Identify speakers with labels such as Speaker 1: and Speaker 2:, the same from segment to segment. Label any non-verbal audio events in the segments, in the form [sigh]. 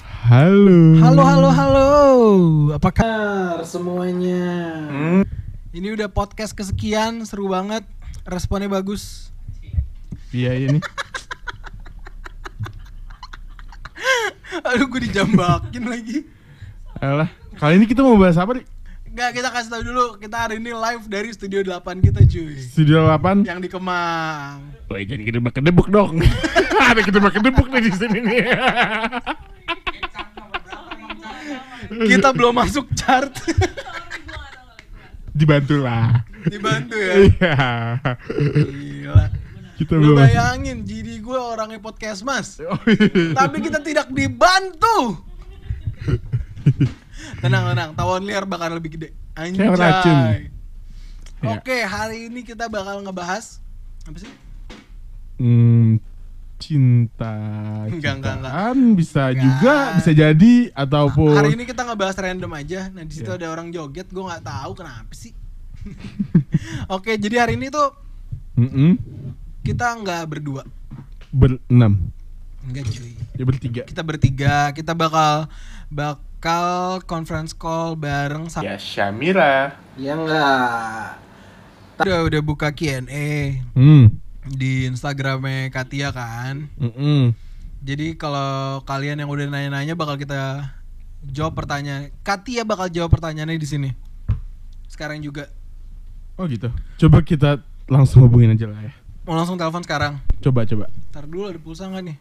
Speaker 1: Halo.
Speaker 2: Halo, halo, halo. Apa kabar semuanya?
Speaker 1: Hmm.
Speaker 2: Ini udah podcast kesekian, seru banget. Responnya bagus.
Speaker 1: Iya ini.
Speaker 2: Aduh, gue dijambakin [laughs] lagi.
Speaker 1: Alah, kali ini kita mau bahas apa di
Speaker 2: Gak, kita kasih tahu dulu. Kita hari ini live dari Studio 8 kita, cuy.
Speaker 1: Studio 8?
Speaker 2: Yang di Kemang.
Speaker 1: Wah, jangan kita makan debuk dong. [laughs] Ada kita makan debuk nih di sini nih.
Speaker 2: Kita belum masuk chart. [laughs]
Speaker 1: dibantu lah.
Speaker 2: Dibantu ya.
Speaker 1: Iya.
Speaker 2: Gila.
Speaker 1: kita
Speaker 2: Lu
Speaker 1: belum.
Speaker 2: bayangin, jadi gue orangnya podcast mas.
Speaker 1: Oh, iya.
Speaker 2: Tapi kita tidak dibantu. Tenang, tenang. Tawon liar bakal lebih gede. Anjay.
Speaker 1: Kayak racun. Ya.
Speaker 2: Oke, hari ini kita bakal ngebahas apa sih?
Speaker 1: Hmm, cinta
Speaker 2: Enggak, enggak, enggak.
Speaker 1: cintaan bisa juga
Speaker 2: Enggak.
Speaker 1: bisa jadi ataupun
Speaker 2: Hari ini kita ngebahas random aja. Nah, di situ
Speaker 1: Iya.
Speaker 2: ada orang joget, gue nggak tahu kenapa sih. [laughs] Oke, jadi hari ini tuh
Speaker 1: Mm-mm.
Speaker 2: kita nggak berdua.
Speaker 1: berenam
Speaker 2: Enggak cuy.
Speaker 1: ya bertiga
Speaker 2: Kita bertiga, kita bakal bakal conference call bareng sama
Speaker 3: Ya Syamira.
Speaker 2: Ya enggak. Udah udah buka Q&A
Speaker 1: hmm
Speaker 2: di Instagramnya Katia kan.
Speaker 1: Mm-mm.
Speaker 2: Jadi kalau kalian yang udah nanya-nanya bakal kita jawab pertanyaan. Katia bakal jawab pertanyaannya di sini. Sekarang juga.
Speaker 1: oh gitu coba kita langsung hubungin aja lah ya
Speaker 2: Mau langsung telepon sekarang.
Speaker 1: coba coba
Speaker 2: Ntar dulu ada pulsa nggak [laughs] nih?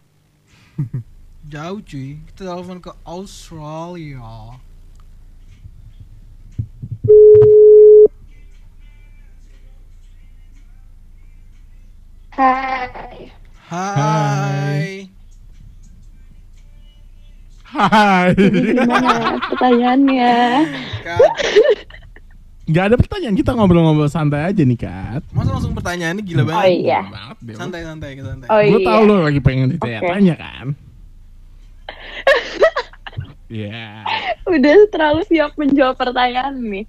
Speaker 2: Jauh cuy. Kita telepon ke Australia.
Speaker 4: Hai.
Speaker 2: Hai.
Speaker 1: Hai.
Speaker 4: Jadi gimana pertanyaannya?
Speaker 2: Kat,
Speaker 1: Gak ada pertanyaan, kita ngobrol-ngobrol santai aja nih, Kat.
Speaker 2: masa langsung pertanyaannya gila
Speaker 4: Oh
Speaker 2: banget.
Speaker 4: iya.
Speaker 1: Banget deh.
Speaker 2: Santai-santai kita santai.
Speaker 4: Oh
Speaker 1: Gue
Speaker 4: iya.
Speaker 1: tau lo lagi pengen ditanya-tanya kan. Iya.
Speaker 4: [laughs] Udah terlalu siap menjawab pertanyaan nih.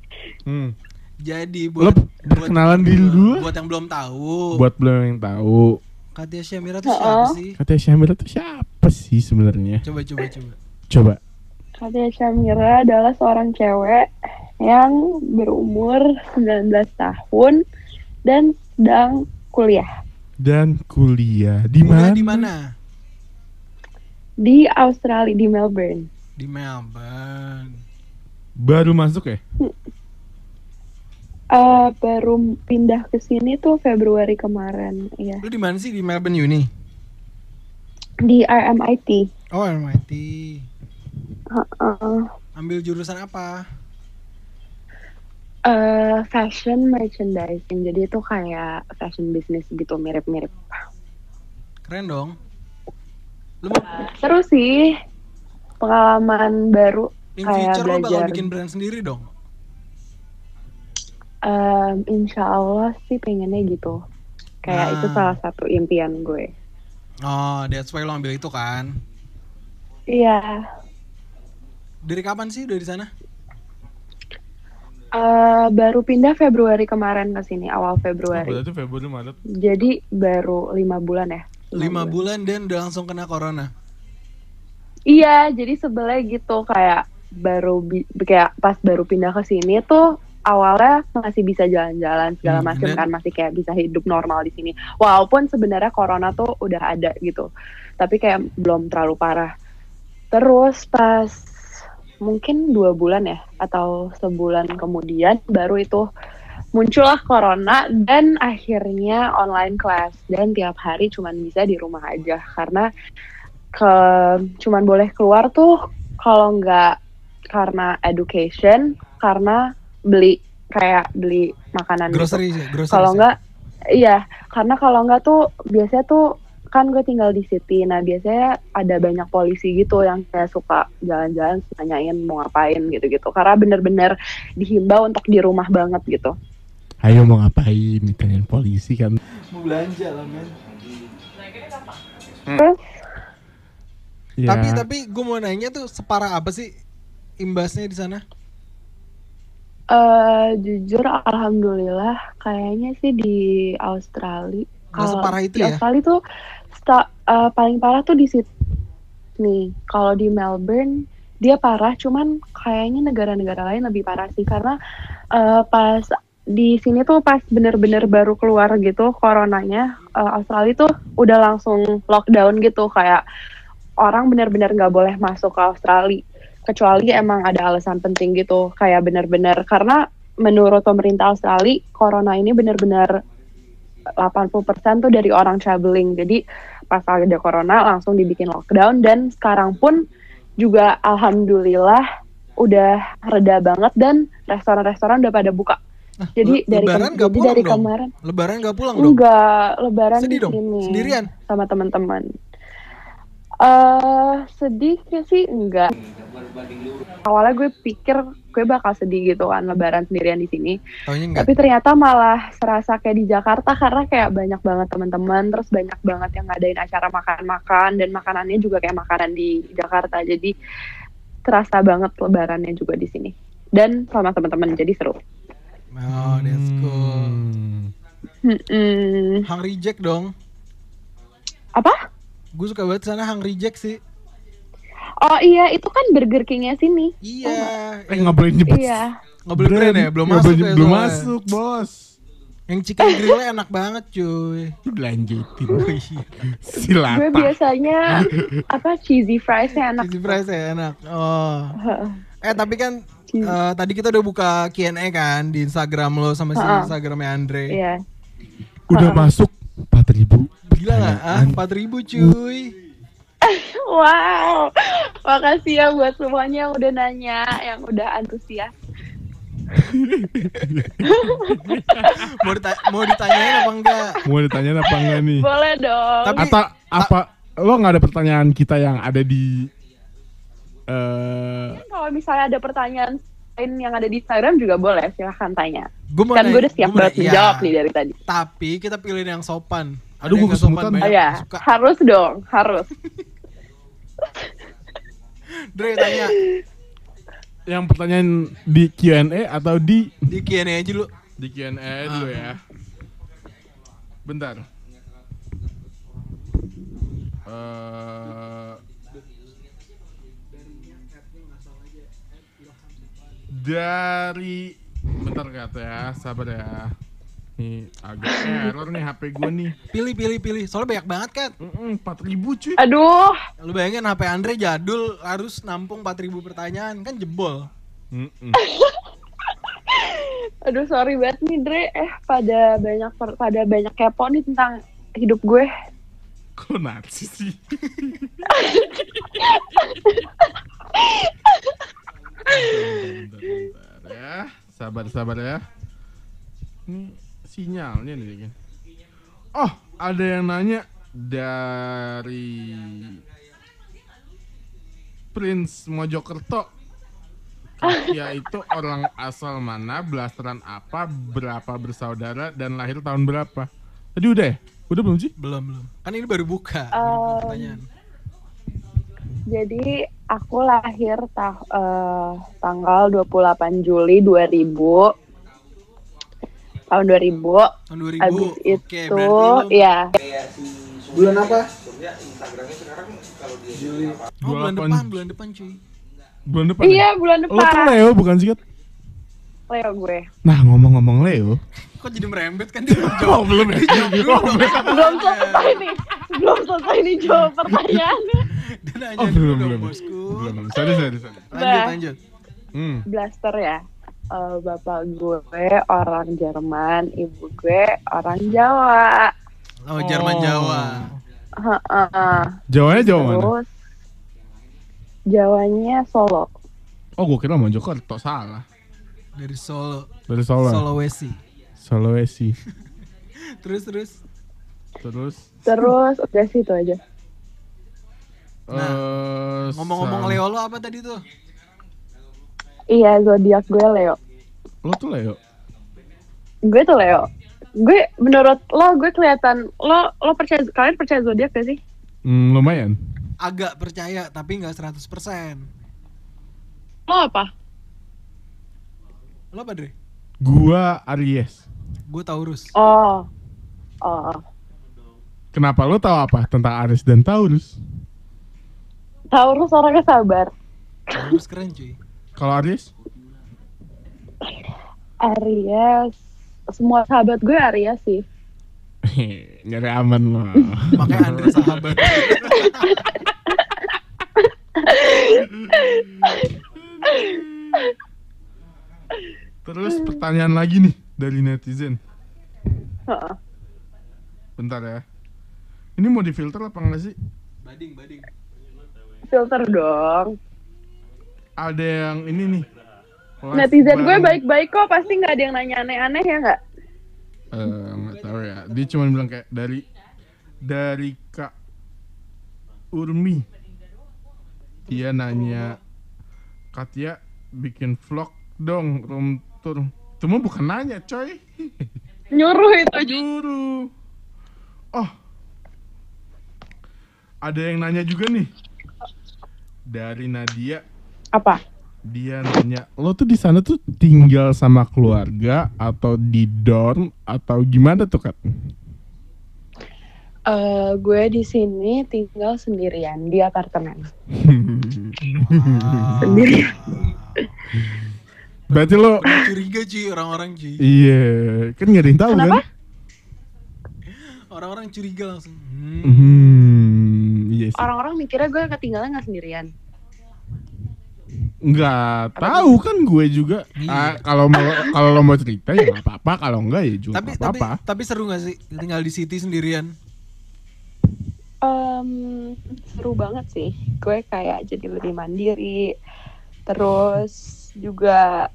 Speaker 1: Hmm.
Speaker 2: Jadi
Speaker 1: Lo
Speaker 2: buat
Speaker 1: perkenalan
Speaker 2: buat-
Speaker 1: diri dulu. eh.
Speaker 2: Buat yang belum tahu.
Speaker 1: Buat lo yang tahu,
Speaker 2: Katia Syamira tuh siapa
Speaker 4: Oh.
Speaker 2: sih?
Speaker 1: katanya Syamila tuh siapa sih sebenarnya?
Speaker 2: Coba coba coba.
Speaker 1: Coba.
Speaker 4: Katia Syamira adalah seorang cewek yang berumur 19 tahun dan sedang kuliah
Speaker 1: Dan kuliah di mana?
Speaker 2: Kuliah Di mana?
Speaker 4: di Australia di Melbourne.
Speaker 2: Di Melbourne.
Speaker 1: Baru masuk ya?
Speaker 4: Eh, baru pindah ke sini tuh Februari kemarin, iya.
Speaker 2: Lu di mana sih di Melbourne Uni?
Speaker 4: Di RMIT.
Speaker 2: Oh, MIT.
Speaker 4: Heeh.
Speaker 2: Ambil jurusan apa?
Speaker 4: Eh, fashion merchandising. Jadi itu kayak fashion business gitu mirip-mirip.
Speaker 2: Keren dong. Lu mau
Speaker 4: Seru sih pengalaman baru.
Speaker 2: in
Speaker 4: kayak
Speaker 2: future lu bakal
Speaker 4: belajar.
Speaker 2: bikin brand sendiri dong.
Speaker 4: Em, insya Allah sih pengennya gitu. Kayak
Speaker 2: Ah.
Speaker 4: itu salah satu impian gue.
Speaker 2: Oh, that's why lu ambil itu kan.
Speaker 4: Iya.
Speaker 2: Dari kapan sih udah di sana?
Speaker 4: Eh, baru pindah Februari kemarin ke sini awal Februari.
Speaker 1: Berarti Februari Maret.
Speaker 4: Jadi baru lima bulan ya.
Speaker 2: Lima bulan dan udah langsung kena corona.
Speaker 4: Iya, jadi sebelah gitu kayak baru bi- kayak pas baru pindah ke sini tuh awalnya masih bisa jalan-jalan segala
Speaker 2: Hmm,
Speaker 4: macam
Speaker 2: bener.
Speaker 4: kan masih kayak bisa hidup normal di sini. Walaupun sebenarnya corona tuh udah ada gitu. Tapi kayak belum terlalu parah. Terus pas mungkin dua bulan ya atau sebulan kemudian baru itu muncullah corona dan akhirnya online class dan tiap hari cuman bisa di rumah aja karena ke cuman boleh keluar tuh kalau nggak karena education karena beli kayak beli makanan gitu.
Speaker 2: Grocery sih, grocery.
Speaker 4: kalau
Speaker 2: sih.
Speaker 4: nggak iya karena kalau nggak tuh biasanya tuh kan gue tinggal di city nah biasanya ada banyak polisi gitu yang kayak suka jalan-jalan nanyain mau ngapain gitu-gitu karena bener-bener dihimbau untuk di rumah banget gitu
Speaker 2: Iya.
Speaker 1: Ayo mau ngapain? Ditanyain polisi kan.
Speaker 2: mau belanja lah, men. Hmm.
Speaker 4: terus
Speaker 1: Ya.
Speaker 2: Tapi tapi gue mau nanya tuh separah apa sih imbasnya di sana?
Speaker 4: eh, jujur alhamdulillah kayaknya sih di Australia
Speaker 2: Nggak separah itu
Speaker 4: di
Speaker 2: ya?
Speaker 4: Australia tuh sta- eh, paling parah tuh di situ nih kalau di Melbourne dia parah cuman kayaknya negara-negara lain lebih parah sih karena eh, pas di sini tuh pas bener-bener baru keluar gitu coronanya eh, Australia tuh udah langsung lockdown gitu kayak orang bener-bener nggak boleh masuk ke Australia kecuali emang ada alasan penting gitu kayak bener-bener karena menurut pemerintah Australia corona ini bener-bener 80% tuh dari orang traveling jadi pas ada corona langsung dibikin lockdown dan sekarang pun juga alhamdulillah udah reda banget dan restoran-restoran udah pada buka. Jadi
Speaker 2: Ah, le-
Speaker 4: dari
Speaker 2: lebaran
Speaker 4: kem-
Speaker 2: nggak
Speaker 4: jadi
Speaker 2: pulang
Speaker 4: dari
Speaker 2: dong?
Speaker 4: kemarin
Speaker 2: Lebaran nggak pulang dong?
Speaker 4: enggak lebaran
Speaker 2: Sedih
Speaker 4: di
Speaker 2: dong,
Speaker 4: sini
Speaker 2: sendirian.
Speaker 4: sama teman-teman. Eh sedih sih enggak. Awalnya gue pikir gue bakal sedih gitu kan lebaran sendirian di sini.
Speaker 2: Taunya nggak?
Speaker 4: Tapi ternyata malah serasa kayak di Jakarta karena kayak banyak banget teman-teman, terus banyak banget yang ngadain acara makan-makan dan makanannya juga kayak makanan di Jakarta. Jadi terasa banget lebarannya juga di sini. Dan sama teman-teman jadi seru.
Speaker 2: Oh, that's cool.
Speaker 1: Hmm.
Speaker 4: Mm-mm.
Speaker 2: Hang reject dong.
Speaker 4: hmm. Apa?
Speaker 2: Gue suka banget sana hang reject sih.
Speaker 4: Oh iya, itu kan Burger King-nya sini.
Speaker 2: Iya.
Speaker 4: Oh.
Speaker 1: Eh nggak boleh nyebut.
Speaker 4: Iya.
Speaker 2: Nggak boleh brand ya? Belum
Speaker 1: Nggak
Speaker 2: masuk
Speaker 1: boleh-
Speaker 2: ya
Speaker 1: Belum
Speaker 2: soalnya.
Speaker 1: masuk bos.
Speaker 2: Yang chicken grillnya enak banget cuy.
Speaker 1: Lu
Speaker 2: [laughs]
Speaker 1: lanjutin.
Speaker 2: Iya.
Speaker 4: Gue
Speaker 1: Silata.
Speaker 4: biasanya apa cheesy fries-nya enak.
Speaker 2: Cheesy fries ya enak. Oh.
Speaker 4: Heeh.
Speaker 2: Eh tapi kan
Speaker 4: Cheesy.
Speaker 2: eh, tadi kita udah buka Q&A kan di Instagram lo sama si
Speaker 4: Ha-ha.
Speaker 2: Instagramnya Andre.
Speaker 4: Iya. [laughs]
Speaker 1: Udah masuk 4000
Speaker 2: Gila nggak? Ah, 4000 cuy.
Speaker 4: Wow. Makasih ya buat semuanya yang udah nanya, yang udah antusias.
Speaker 2: Mau, dita- mau ditanyain apa enggak?
Speaker 1: [laughs] Mau ditanyain apa enggak nih?
Speaker 4: Boleh dong.
Speaker 2: Hmm. Tapi-
Speaker 1: Atau apa lo nggak ada pertanyaan kita yang ada di eh
Speaker 4: kalau misalnya ada pertanyaan lain yang ada di Instagram juga boleh silahkan tanya
Speaker 2: Gue mau
Speaker 4: kan gue
Speaker 2: nanya-
Speaker 4: udah siap
Speaker 2: gua mau
Speaker 4: banget
Speaker 2: nanya-
Speaker 4: menjawab
Speaker 2: iya.
Speaker 4: nih dari tadi
Speaker 2: Tapi kita pilih yang sopan. Ada
Speaker 1: Aduh,
Speaker 2: yang
Speaker 1: gua
Speaker 2: nggak sopan
Speaker 1: kesemutan.
Speaker 2: banyak
Speaker 4: oh
Speaker 2: yang
Speaker 4: ya
Speaker 2: nggak suka.
Speaker 4: harus dong harus
Speaker 2: Dre tanya
Speaker 1: yang pertanyaan di Q&A atau di
Speaker 2: di Q&A aja lu.
Speaker 1: di Q&A dulu ya. Bentar. Eh, dari bentar kata ya, sabar ya. Nih agak error nih HP gue nih.
Speaker 2: Pilih pilih pilih. Soalnya banyak banget kan.
Speaker 1: Mm-mm, 4000 cuy.
Speaker 4: Eh. aduh
Speaker 2: Lu bayangin HP Andre jadul harus nampung 4000 pertanyaan kan jebol.
Speaker 1: Mm-mm.
Speaker 4: aduh sorry banget nih Dre eh pada banyak per- pada banyak kepo nih tentang hidup gue
Speaker 1: Kok narsis sih? Bentar, bentar, bentar ya. Sabar, sabar ya. Ini sinyalnya nih. kayaknya. Oh, ada yang nanya dari Prince Mojokerto. Kia itu orang asal mana, belasteran apa, berapa bersaudara, dan lahir tahun berapa? Tadi udah ya? Udah belum sih?
Speaker 2: Belum belum. Kan ini baru buka.
Speaker 4: Um,
Speaker 2: baru buka pertanyaan.
Speaker 4: jadi aku lahir ta- eh, tanggal 28 Juli 2000 tahun 2000
Speaker 2: Tahun 2000.
Speaker 4: Abis
Speaker 2: Oke,
Speaker 4: itu,
Speaker 2: berarti lu
Speaker 4: ya
Speaker 2: bulan apa? Juli. Oh, bulan
Speaker 1: 28.
Speaker 2: depan, bulan depan cuy.
Speaker 1: Bulan depan. ya?
Speaker 4: iya bulan
Speaker 1: Lo tuh
Speaker 4: depan
Speaker 1: Leo bukan sih Kat?
Speaker 4: Leo gue
Speaker 1: Nah ngomong-ngomong Leo
Speaker 2: Kok jadi merembet kan dia belum jawab.
Speaker 1: Oh belum ya?
Speaker 2: Jawab dulu dong.
Speaker 4: belum selesai nih belum selesai nih jawab pertanyaannya
Speaker 2: Dia nanya
Speaker 1: Oh
Speaker 2: dulu
Speaker 1: belum
Speaker 2: dong,
Speaker 1: belum
Speaker 2: bosku.
Speaker 1: Belum belum Sorry sorry sorry
Speaker 2: Lanjut
Speaker 4: Bah.
Speaker 2: lanjut.
Speaker 1: hmm.
Speaker 4: blaster ya Eh, bapak gue orang Jerman ibu gue orang Jawa
Speaker 2: Oh, Jerman
Speaker 1: Oh.
Speaker 2: Jawa.
Speaker 4: Heeh.
Speaker 1: Jawanya Jawa mana?
Speaker 4: terus Jawanya Solo
Speaker 1: Oh gue kira Mojokerto salah
Speaker 2: Dari Solo,
Speaker 1: Dari Solo ya
Speaker 2: Sulawesi.
Speaker 1: Sulawesi
Speaker 2: Terus terus.
Speaker 1: Terus
Speaker 4: terus udah sih itu aja
Speaker 1: eh,
Speaker 2: Ngomong-ngomong
Speaker 1: sam-
Speaker 2: Leo lo apa tadi tuh?
Speaker 4: iya zodiak gue Leo
Speaker 1: Lo tuh Leo
Speaker 4: gue tuh Leo gue menurut lo gue kelihatan lo lo percaya kalian percaya zodiak gak sih
Speaker 1: hmm, Lumayan
Speaker 2: Agak percaya tapi nggak 100%.
Speaker 4: lo apa
Speaker 2: Lo apa, Dre?
Speaker 1: Gua Aries
Speaker 2: Gue Taurus.
Speaker 4: oh oh
Speaker 1: Kenapa lo tahu apa tentang Aries dan Taurus?
Speaker 4: Taurus orangnya sabar.
Speaker 2: Harus keren cuy.
Speaker 1: Kalau Aries? [laughs]
Speaker 4: Aries, semua sahabat gue Aries sih.
Speaker 1: Nyari aman loh.
Speaker 2: Makanya Andre sahabat.
Speaker 1: Terus pertanyaan lagi nih dari netizen.
Speaker 4: Heeh.
Speaker 1: Bentar ya. Ini mau difilter apa enggak sih?
Speaker 2: bading, bading.
Speaker 4: [laughs] Filter dong.
Speaker 1: Ada yang ini nih. Kelas
Speaker 4: Netizen gue
Speaker 1: bareng-
Speaker 4: baik-baik kok, pasti nggak ada yang nanya aneh-aneh ya nggak?
Speaker 1: Eh, nggak tahu ya. Dia cuma bilang kayak dari dari Kak Urmi. Dia nanya Katya bikin vlog dong room tour. Cuma bukan nanya, coy. [laughs]
Speaker 4: Nyuruh itu aja.
Speaker 1: Juru. Oh. Ada yang nanya juga nih. Dari Nadia,
Speaker 4: Apa?
Speaker 1: dia nanya, "Lo tuh di sana tuh tinggal sama keluarga atau di dorm atau gimana tuh, Kat?"
Speaker 4: Eh, gue di sini tinggal sendirian di apartemen. Sendirian.
Speaker 1: [laughs] Berarti lo
Speaker 2: Ah, Curiga cuy orang-orang cuy.
Speaker 1: Iya, kan nggak ada yang tahu
Speaker 4: Kenapa?
Speaker 1: kan?
Speaker 2: Orang-orang curiga langsung. Hmm.
Speaker 1: Hmm, iya sih.
Speaker 4: Orang-orang mikirnya gue ketinggalan nggak sendirian.
Speaker 1: Nggak tahu kan gue juga.
Speaker 2: Iya.
Speaker 1: Ah, kalau mau kalau lo mau cerita ya nggak apa-apa, kalau enggak ya juga
Speaker 2: Tapi
Speaker 1: nggak
Speaker 2: tapi
Speaker 1: apa-apa.
Speaker 2: tapi seru gak sih tinggal di city sendirian?
Speaker 4: Em, seru banget sih. Gue kayak jadi lebih mandiri. Terus juga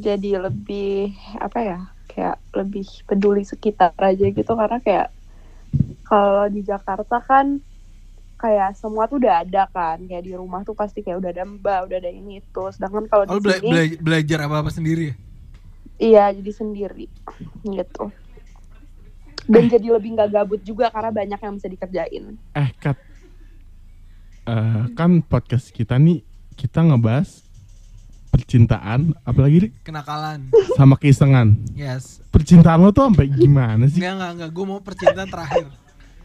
Speaker 4: jadi lebih apa ya? Kayak lebih peduli sekitar aja gitu karena kayak kalau di Jakarta kan kayak semua tuh udah ada kan. Kayak di rumah tuh pasti kayak udah ada mbak, udah ada ini itu. Sedangkan kalau di
Speaker 2: Lo Oh, bela-
Speaker 4: sini
Speaker 2: bela- belajar apa-apa sendiri ya?
Speaker 4: iya jadi sendiri gitu.
Speaker 2: Eh.
Speaker 4: Dan jadi lebih nggak gabut juga karena banyak yang bisa dikerjain.
Speaker 1: Eh, Kat. Eh, kan podcast kita nih kita ngebahas percintaan, apalagi Ri,
Speaker 2: Kenakalan.
Speaker 1: sama keisengan.
Speaker 2: Yes.
Speaker 1: Percintaan lo tuh sampai gimana sih?
Speaker 2: Enggak enggak enggak. Gue mau percintaan terakhir.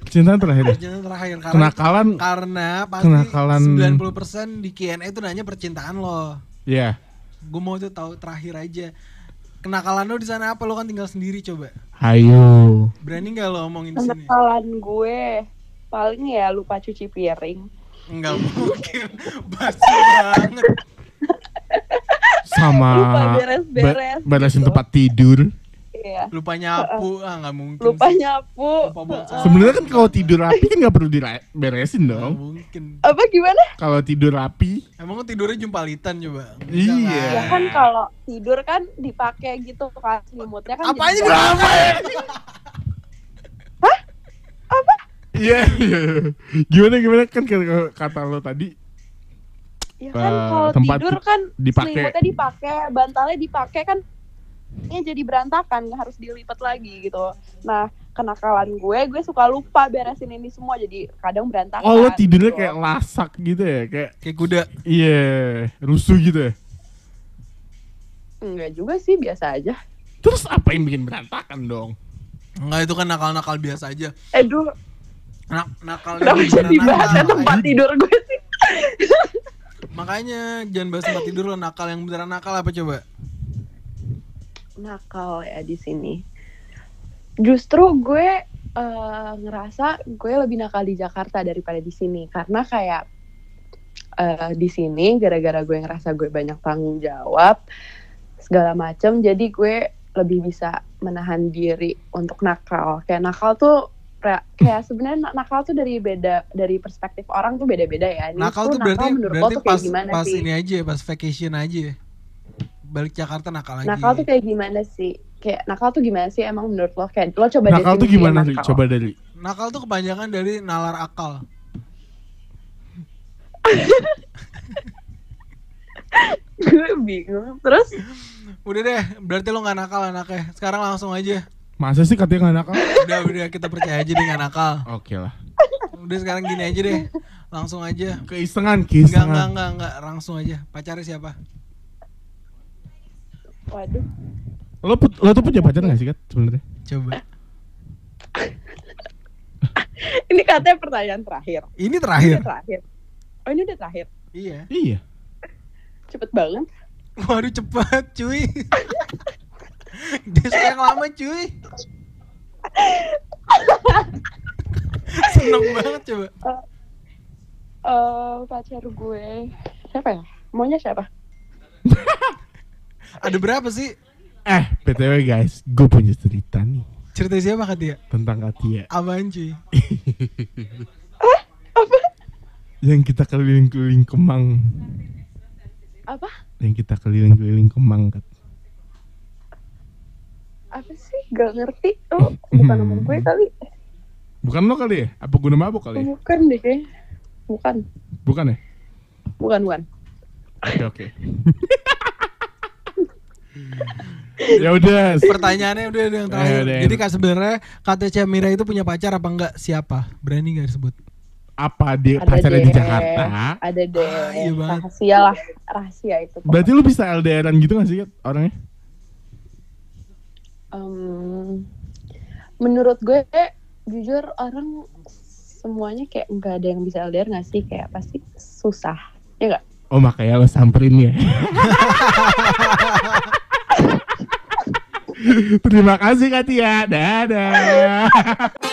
Speaker 1: Percintaan terakhir. ya?
Speaker 2: Percintaan terakhir karena
Speaker 1: Kenakalan,
Speaker 2: karena pasti
Speaker 1: Kenakalan-
Speaker 2: 90% di Q&A itu nanya percintaan lo.
Speaker 1: ya.
Speaker 2: Gue mau tuh tahu terakhir aja. Kenakalan lo di sana apa? Lo kan tinggal sendiri coba.
Speaker 1: Ayo.
Speaker 2: Berani nggak lo omongin di sini?
Speaker 4: Kesalahan gue paling ya lupa cuci piring.
Speaker 2: Enggak mungkin. [laughs] Basi banget.
Speaker 1: Sama
Speaker 4: Lupa beres-beres.
Speaker 1: ba- beresin tempat tidur.
Speaker 4: Iya.
Speaker 2: Lupa nyapu. Ah nggak mungkin.
Speaker 4: Lupa
Speaker 2: sih.
Speaker 4: nyapu.
Speaker 2: Lupa buang
Speaker 4: Heeh.
Speaker 1: Sebenarnya kan kalau tidur rapi kan nggak perlu diberesin
Speaker 2: Nggak
Speaker 1: dong.
Speaker 2: mungkin.
Speaker 4: Apa gimana?
Speaker 1: Kalau tidur rapi,
Speaker 2: Emang lo tidurnya jumpalitan coba?
Speaker 1: Iya.
Speaker 4: Ya
Speaker 2: Eh.
Speaker 4: kan kalau tidur kan dipakai gitu kan selimutnya kan.
Speaker 2: Apanya
Speaker 4: jadi-
Speaker 2: drama ya?
Speaker 1: iya. iya. Gimana gimana kan kalau kata lo tadi
Speaker 4: Ya kan
Speaker 1: Eh,
Speaker 4: kalau
Speaker 1: tempat
Speaker 4: tidur kan
Speaker 1: dipakai.
Speaker 4: selimutnya dipakai, bantalnya dipakai kan ini jadi berantakan, nggak harus dilipat lagi gitu. Nah, kenakalan gue, gue suka lupa beresin ini semua jadi kadang berantakan.
Speaker 1: Oh lo tidurnya
Speaker 4: gitu.
Speaker 1: kayak lasak gitu ya Kayak
Speaker 2: Kayak kuda.
Speaker 1: iya rusuh gitu ya
Speaker 4: enggak juga sih, biasa aja.
Speaker 1: Terus apa yang bikin berantakan dong?
Speaker 2: Enggak itu kan nakal-nakal biasa aja.
Speaker 4: Aduh,
Speaker 2: Nak nakal
Speaker 4: Eh, Kenapa
Speaker 2: yang
Speaker 4: jadi
Speaker 2: beneran
Speaker 4: bahasnya
Speaker 2: nakal.
Speaker 4: tempat tidur gue sih?
Speaker 2: Makanya jangan bahas tempat tidur lo nakal yang beneran nakal apa coba?
Speaker 4: Nakal ya di sini. Justru gue eh, ngerasa gue lebih nakal di Jakarta daripada di sini karena kayak eh, di sini gara-gara gue ngerasa gue banyak tanggung jawab segala macem jadi gue lebih bisa menahan diri untuk nakal kayak nakal tuh ra- kayak sebenarnya na- nakal tuh dari beda dari perspektif orang tuh beda-beda ya Ini
Speaker 2: Nah, Nakal tuh berarti
Speaker 4: menurut lo
Speaker 2: berarti
Speaker 4: tuh kayak
Speaker 2: pas
Speaker 4: gimana
Speaker 2: pas
Speaker 4: sih?
Speaker 2: ini aja ya, pas vacation aja. ya. Balik Jakarta nakal lagi.
Speaker 4: Nakal tuh kayak gimana sih? Kayak nakal tuh gimana sih emang menurut lo? Kayak lo coba
Speaker 1: nakal tuh
Speaker 4: definisiin
Speaker 1: gimana Ri?
Speaker 4: nakal.
Speaker 1: Coba dari
Speaker 2: Nakal tuh kebanyakan dari nalar akal.
Speaker 4: Gue [laughs] bingung. Terus
Speaker 2: Udah deh, berarti lo nggak nakal anaknya. Sekarang langsung aja.
Speaker 1: Masa sih katanya nggak nakal?
Speaker 2: Udah udah kita percaya aja dia nggak nakal.
Speaker 1: Oke lah
Speaker 2: Udah sekarang gini aja deh. Langsung aja.
Speaker 1: Keisengan,
Speaker 2: Enggak enggak
Speaker 1: keisengan
Speaker 2: enggak enggak langsung aja. Pacarnya siapa?
Speaker 4: waduh,
Speaker 1: lo, put- lo tuh punya pacar gak sih Kat sebenarnya?
Speaker 2: Coba.
Speaker 4: ini katanya pertanyaan terakhir.
Speaker 2: Ini
Speaker 4: Ini
Speaker 2: terakhir.
Speaker 4: terakhir. Oh ini udah terakhir.
Speaker 2: Iya.
Speaker 1: Iya.
Speaker 4: Cepet banget.
Speaker 2: Waduh cepet cuy. Dia suka yang lama cuy. Seneng banget coba.
Speaker 4: Eh pacar gue siapa ya? Maunya siapa?
Speaker 2: Ada berapa sih?
Speaker 1: Eh, PTW guys, gue punya cerita nih
Speaker 2: Cerita siapa kak dia?
Speaker 1: tentang Katia. [laughs]
Speaker 2: Apaan cuy?
Speaker 4: Apa?
Speaker 1: yang kita keliling-keliling Kemang,
Speaker 4: Apa?
Speaker 1: yang kita keliling-keliling Kemang Kat.
Speaker 4: Apa sih? Gak ngerti. Oh bukan nomor gue
Speaker 1: Hmm.
Speaker 4: kali.
Speaker 1: Bukan lo kali ya? Apa gue nama mabuk kali ya?
Speaker 4: Bukan deh kayaknya. Bukan.
Speaker 1: Bukan ya?
Speaker 4: Bukan bukan.
Speaker 1: Oke oke. [laughs] ya udah.
Speaker 2: Pertanyaannya udah ada yang terakhir.
Speaker 1: Eh, udah.
Speaker 2: Jadi kak sebenarnya KTC Mira itu punya pacar apa enggak? Siapa? Berani nggak disebut?
Speaker 1: Apa dia pacarnya Iya, di Jakarta?
Speaker 4: Ada deh.
Speaker 2: Ah, iya banget.
Speaker 4: rahasia lah. Rahasia itu.
Speaker 1: Berarti lu bisa LDRan gitu gak sih Kat, orangnya?
Speaker 4: Em, menurut gue jujur orang semuanya kayak nggak ada yang bisa LDR nggak sih kayak pasti susah ya nggak
Speaker 1: Oh makanya lo samperin ya. Terima kasih Katia. Dadah.